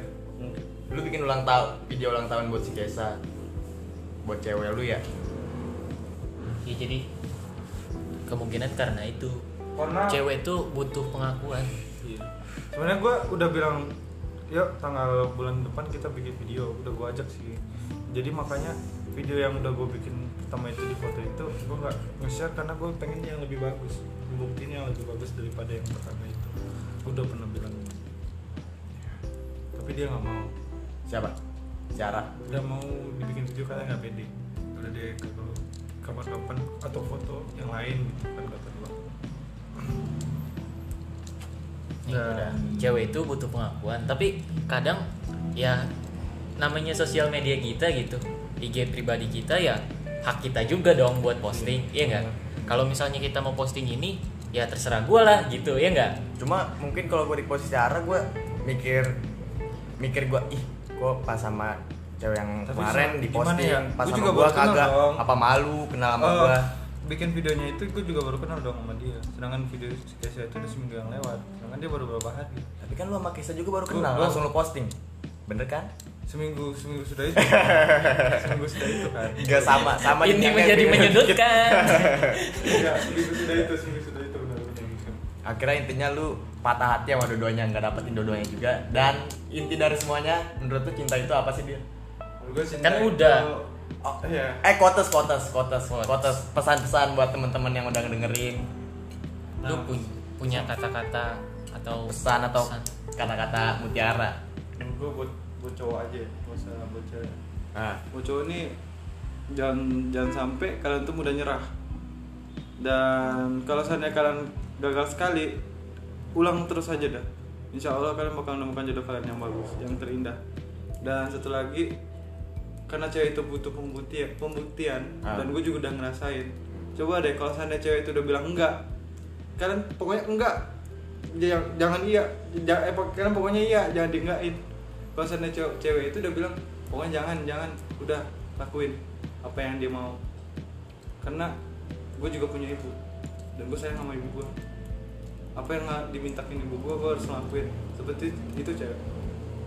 [SPEAKER 2] ingat. lu bikin ulang tahun video ulang tahun buat si Kesa buat cewek lu ya
[SPEAKER 1] ya jadi kemungkinan karena itu
[SPEAKER 3] Karena
[SPEAKER 1] cewek tuh butuh pengakuan
[SPEAKER 3] Iya. Sebenarnya gue udah bilang, yuk tanggal bulan depan kita bikin video. Udah gue ajak sih. Jadi makanya video yang udah gue bikin pertama itu di foto itu gue nggak nge-share karena gue pengen yang lebih bagus. Buktinya yang lebih bagus daripada yang pertama itu. Gue udah pernah bilang. Tapi dia nggak mau.
[SPEAKER 2] siapa Syara
[SPEAKER 3] Nggak mau dibikin video karena nggak pede. Udah deh kalau kapan-kapan atau foto yang lain gitu kan kata gue.
[SPEAKER 1] Nih, udah. cewek itu butuh pengakuan tapi kadang ya namanya sosial media kita gitu IG pribadi kita ya hak kita juga dong buat posting iya nggak kalau misalnya kita mau posting ini ya terserah gua lah gitu ya nggak
[SPEAKER 2] cuma mungkin kalau gue di posisi Syara gue mikir mikir gue ih gue pas sama cewek yang
[SPEAKER 3] Tapi
[SPEAKER 2] kemarin
[SPEAKER 3] gimana
[SPEAKER 2] di posting
[SPEAKER 3] ya?
[SPEAKER 2] pas
[SPEAKER 3] Gua
[SPEAKER 2] sama
[SPEAKER 3] juga
[SPEAKER 2] gue
[SPEAKER 3] baru kenal
[SPEAKER 2] kagak
[SPEAKER 3] dong.
[SPEAKER 2] apa malu kenal sama
[SPEAKER 3] Eh,
[SPEAKER 2] gue
[SPEAKER 3] bikin videonya itu gue juga baru kenal dong sama dia sedangkan video si Kesia itu udah seminggu yang lewat sedangkan dia baru beberapa hari
[SPEAKER 2] tapi kan lu sama Kesa juga baru
[SPEAKER 3] Gua-
[SPEAKER 2] kenal
[SPEAKER 3] gua-
[SPEAKER 2] langsung lu posting bener kan
[SPEAKER 3] seminggu seminggu sudah itu seminggu sudah itu kan
[SPEAKER 2] Gak sama sama
[SPEAKER 1] ini
[SPEAKER 2] jenjangnya
[SPEAKER 1] menjadi
[SPEAKER 2] beda dikit.
[SPEAKER 1] menyedutkan
[SPEAKER 3] iya seminggu sudah itu seminggu sudah itu benar-benar
[SPEAKER 2] akhirnya intinya lu patah hati sama dua-duanya nggak dapetin dua-duanya juga dan inti dari semuanya menurut lu cinta itu apa sih dia
[SPEAKER 3] Menurut gua cinta
[SPEAKER 1] Kan udah.
[SPEAKER 3] itu-
[SPEAKER 2] Oh,
[SPEAKER 3] iya
[SPEAKER 2] Eh kotes kotes kotes
[SPEAKER 1] Quotes.
[SPEAKER 2] kotes pesan-pesan buat teman-teman yang udah dengerin
[SPEAKER 1] lu pun- punya kata-kata atau
[SPEAKER 2] pesan atau kata-kata mutiara.
[SPEAKER 3] menurut gue buat buat cowok aja gak usah buat cewek
[SPEAKER 2] Ah,
[SPEAKER 3] buat Oh, cowok ini jangan jangan sampai kalian tuh mudah nyerah dan kalau seandainya kalian gagal sekali ulang terus aja dah insya Allah kalian bakal menemukan jodoh kalian yang bagus yang terindah dan satu lagi karena cewek itu butuh pembuktian pembuktian
[SPEAKER 2] Ah.
[SPEAKER 3] dan gue juga udah ngerasain coba deh kalau seandainya cewek itu udah bilang enggak kalian pokoknya enggak jangan, jangan iya jangan, eh, pok- kalian pokoknya iya jangan dienggak'in kalau seandainya cewek, cewek itu udah bilang pokoknya jangan jangan udah lakuin apa yang dia mau karena gue juga punya ibu dan gue sayang sama ibu gue apa yang nggak dimintakin ibu gue gue harus lakuin seperti itu cewek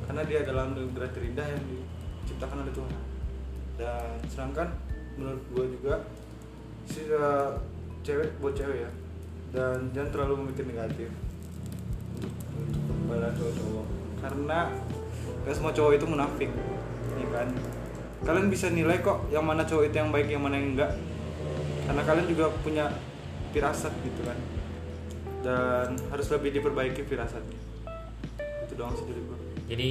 [SPEAKER 3] karena dia adalah anugerah terindah yang diciptakan oleh Tuhan dan sedangkan menurut gue juga si uh, cewek buat cewek ya dan jangan terlalu memikir negatif untuk kepada cowok-cowok karena gak semua cowok itu munafik ya kan kalian bisa nilai kok yang mana cowok itu yang baik yang mana yang enggak karena kalian juga punya firasat gitu kan dan harus lebih diperbaiki firasatnya itu doang sih dari gue
[SPEAKER 1] jadi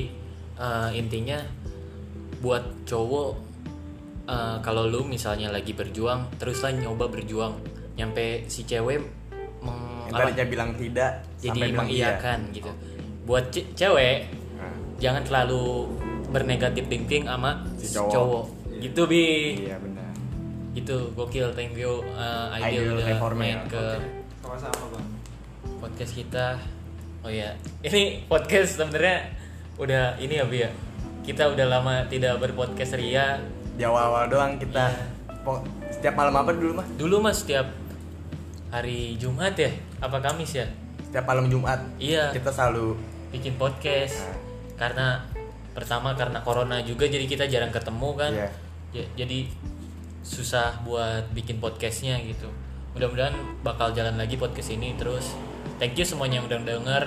[SPEAKER 1] eh, intinya buat cowok eh, kalau lu misalnya lagi berjuang teruslah nyoba berjuang nyampe si cewek meng,
[SPEAKER 2] Yang
[SPEAKER 1] apa,
[SPEAKER 2] tadinya bilang tidak sampai
[SPEAKER 1] jadi
[SPEAKER 2] bilang Oh.
[SPEAKER 1] mengiyakan gitu buat ce- cewek
[SPEAKER 2] iya. Nah,
[SPEAKER 1] jangan terlalu bernegatif thinking sama si
[SPEAKER 2] Si cowok.
[SPEAKER 1] cowok, gitu bi
[SPEAKER 2] iya benar
[SPEAKER 1] gitu gokil thank you uh,
[SPEAKER 2] Ideal
[SPEAKER 1] Aidil udah
[SPEAKER 2] Reformer.
[SPEAKER 1] main ke
[SPEAKER 2] Oke.
[SPEAKER 3] sama-sama bang
[SPEAKER 1] podcast kita oh ya ini podcast sebenarnya udah ini ya bi ya kita udah lama tidak berpodcast ria
[SPEAKER 2] di awal-awal doang kita
[SPEAKER 1] Iya.
[SPEAKER 2] po- setiap malam apa dulu mah
[SPEAKER 1] dulu mas setiap hari Jumat ya apa Kamis ya
[SPEAKER 2] setiap malam Jumat
[SPEAKER 1] iya
[SPEAKER 2] kita selalu
[SPEAKER 1] bikin podcast
[SPEAKER 2] Nah.
[SPEAKER 1] karena pertama karena corona juga jadi kita jarang ketemu kan
[SPEAKER 2] Iya.
[SPEAKER 1] Ja- jadi susah buat bikin podcastnya gitu mudah-mudahan bakal jalan lagi podcast ini terus thank you semuanya yang udah denger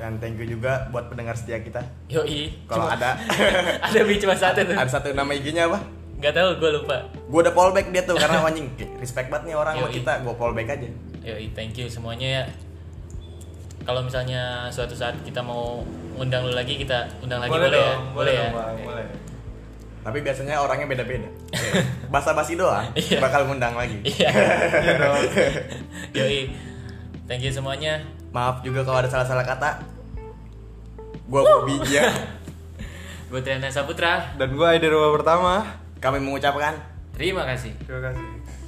[SPEAKER 2] dan thank you juga buat pendengar setia kita
[SPEAKER 1] yoi
[SPEAKER 2] kalau
[SPEAKER 1] Cuma-
[SPEAKER 2] ada
[SPEAKER 1] ada bi cuma satu tuh
[SPEAKER 2] ada satu nama IG-nya apa
[SPEAKER 1] nggak tahu gue lupa
[SPEAKER 2] gue udah fallback dia tuh karena anjing respect banget nih orang sama
[SPEAKER 1] Yoi.
[SPEAKER 2] kita gue fallback aja
[SPEAKER 1] yoi thank you semuanya ya kalau misalnya suatu saat kita mau ngundang lu lagi kita undang lagi boleh, ya
[SPEAKER 3] dong, boleh,
[SPEAKER 1] ya
[SPEAKER 3] dong, Bang, boleh.
[SPEAKER 2] tapi biasanya orangnya beda-beda bahasa basi doang
[SPEAKER 1] Iya.
[SPEAKER 2] bakal ngundang lagi
[SPEAKER 1] Iya. Yoi. Thank you semuanya.
[SPEAKER 2] maaf juga kalau ada salah-salah kata gue Bobby ya
[SPEAKER 1] Gue Triana Saputra.
[SPEAKER 3] dan gue Aida Ruwa pertama
[SPEAKER 2] kami mengucapkan
[SPEAKER 1] Terima kasih.
[SPEAKER 3] terima kasih